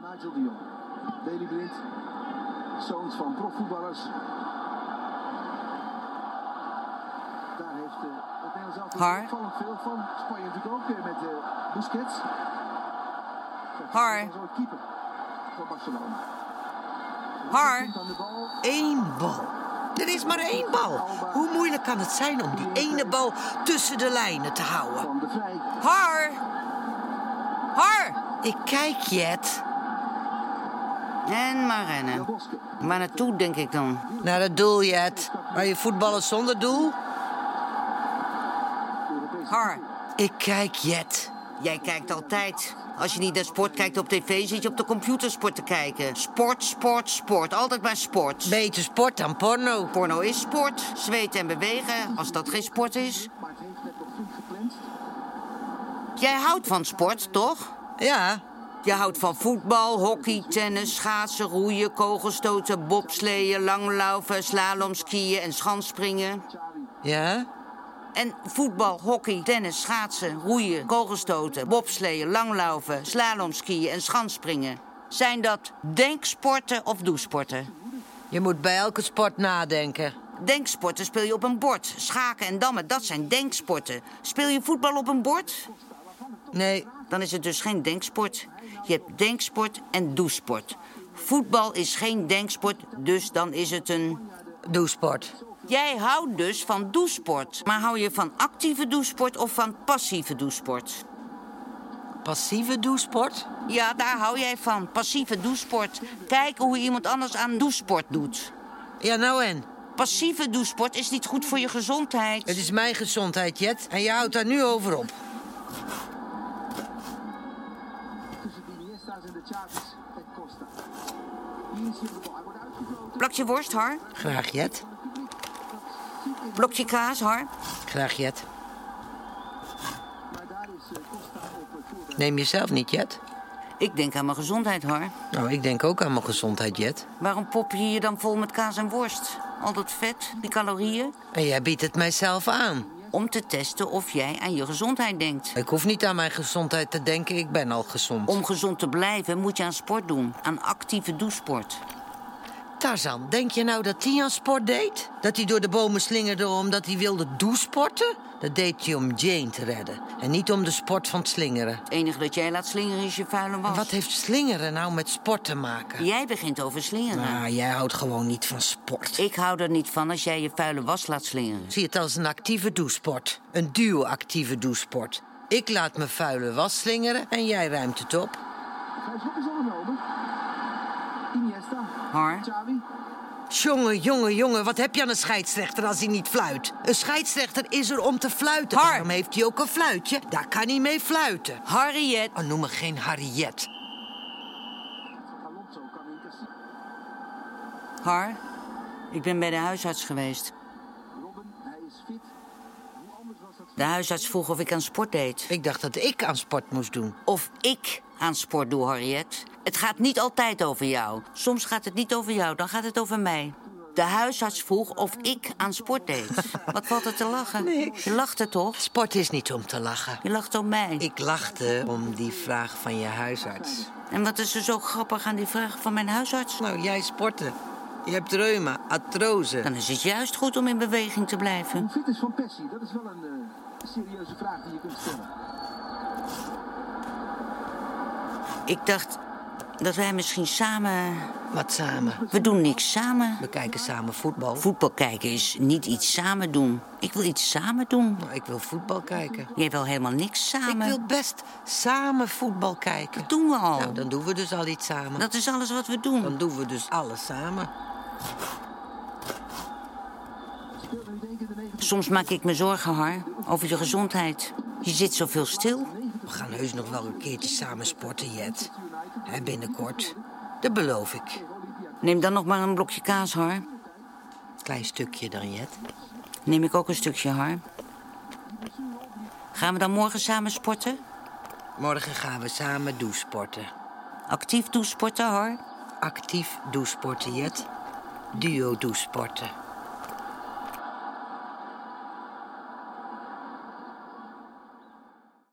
Nigel de Jong. Deli Blind, zoons van profvoetballers. Daar heeft eh, het Nederlands elftal Har. opvallend veel van. Spanje natuurlijk ook weer met eh, Busquets. Har. Dat was ook keeper van Barcelona. Har. Komt aan de bal. Eén bal. Er is maar één bal. Hoe moeilijk kan het zijn om die ene bal tussen de lijnen te houden? Van de Vrij. Har! Har! Ik kijk, Jet. En maar rennen. Del Bosque. Waar naartoe, denk ik dan? Naar het doel, Jet. Maar je voetballen zonder doel? Europese Har! Ik kijk, Jet. Jij kijkt altijd. Als je niet naar sport kijkt op tv, zit je op de computersport te kijken. Sport, sport, sport. Altijd maar sport. Beter sport dan porno. Porno is sport. Zweten en bewegen, als dat geen sport is. Maar het heeft net nog goed gepland. Jij houdt van sport, toch? Ja, Je houdt van voetbal, hockey, tennis, schaatsen, roeien, kogelstoten, bobsleeën, langlaufen, slalomskiën en schansspringen. ja. En voetbal, hockey, tennis, schaatsen, roeien, kogelstoten, bobsleeën, langlaufen, slalomskiën en schansspringen. Zijn dat denksporten of doesporten? Je moet bij elke sport nadenken. Denksporten speel je op een bord. Schaken en dammen, dat zijn denksporten. Speel je voetbal op een bord? Nee, Dan is het dus geen denksport. Je hebt denksport en doesport. Voetbal is geen denksport, dus dan is het een. doe sport. Jij houdt dus van doesport. Maar hou je van actieve doesport of van passieve doesport? Passieve doesport? Ja, daar hou jij van. Passieve doesport. Kijken hoe iemand anders aan doesport doet. Ja, nou en? Passieve doesport is niet goed voor je gezondheid. Het is mijn gezondheid, Jet. En je houdt daar nu over op. Tussen de Iniesta's en de Chavis en Costa. Hier is hier de bal. Hij wordt uitgevloten. Blokje worst, Har. Graag, Jet. Blokje kaas, Har. Graag, Jet. Maar daar is eh, Costa op het voorbereid. Neem jezelf niet, Jet. Ik denk aan mijn gezondheid, Har. Nou, ik denk ook aan mijn gezondheid, Jet. Waarom pop je je dan vol met kaas en worst? Al dat vet, die calorieën? En jij biedt het mijzelf aan. Om te testen of jij aan je gezondheid denkt. Ik hoef niet aan mijn gezondheid te denken, ik ben al gezond. Oh, Om gezond te blijven moet je aan sport doen. Aan actieve doesport. Tarzan, denk je nou dat hij aan sport deed? Dat hij door de bomen slingerde omdat hij wilde doesporten? Dat deed hij om Jane te redden en niet om de sport van het slingeren. Het enige dat jij laat slingeren is je vuile was. En wat heeft slingeren nou met sport te maken? Jij begint over slingeren. Nou, jij houdt gewoon niet van sport. Ik hou er niet van als jij je vuile was laat slingeren. zie het als een actieve doesport. Een duo-actieve doesport. Ik laat mijn vuile was slingeren en jij ruimt het op. Hij schop is overgenomen. Iniesta. Har. Xavi. Jongen, jongen, jongen, wat heb je aan een scheidsrechter als hij niet fluit? Een scheidsrechter is er om te fluiten. Har. Daarom heeft hij ook een fluitje. Daar kan hij mee fluiten. Harriet. Oh, noem me geen Harriet. Alonso kan incasseren. Har, ik ben bij de huisarts geweest. Robben, hij is fit. Hoe anders was dat? De huisarts vroeg of ik aan sport deed. Ik dacht dat ik aan sport moest doen. Of ik aan sport doe, Harriet. Het gaat niet altijd over jou. Soms gaat het niet over jou, dan gaat het over mij. De huisarts vroeg of ik aan sport deed. Wat valt er te lachen? Niks. Je lachte toch? Sport is niet om te lachen. Je lacht om mij. Ik lachte om die vraag van je huisarts. En wat is er zo grappig aan die vraag van mijn huisarts? Nou, jij sporten. Je hebt reuma, artrose. Dan is het juist goed om in beweging te blijven. Hoe fit is Van Persie? Dat is wel een eh, serieuze vraag die je kunt stellen. Ik dacht dat wij misschien samen. Wat samen. We doen niks samen. We kijken samen voetbal. Voetbal kijken is niet iets samen doen. Ik wil iets samen doen. Nou, ik wil voetbal kijken. Jij wil helemaal niks samen. Ik wil best samen voetbal kijken. Dat doen we al. Nou, dan doen we dus al iets samen. Dat is alles wat we doen. Dan doen we dus alles samen. Speelde nu denk ik in de 90 Soms maak ik me zorgen, Har, over je gezondheid. Je zit zoveel stil. We gaan heus nog wel een keertje samen sporten, Jet. Hè, binnenkort. Dat beloof ik. Neem dan nog maar een blokje kaas, Har. Klein stukje dan, Jet. Neem ik ook een stukje, Har. Gaan we dan morgen samen sporten? Morgen gaan we samen doesporten. Actief toesporten, Har. Actief doesporten, Jet. Duo doesporten.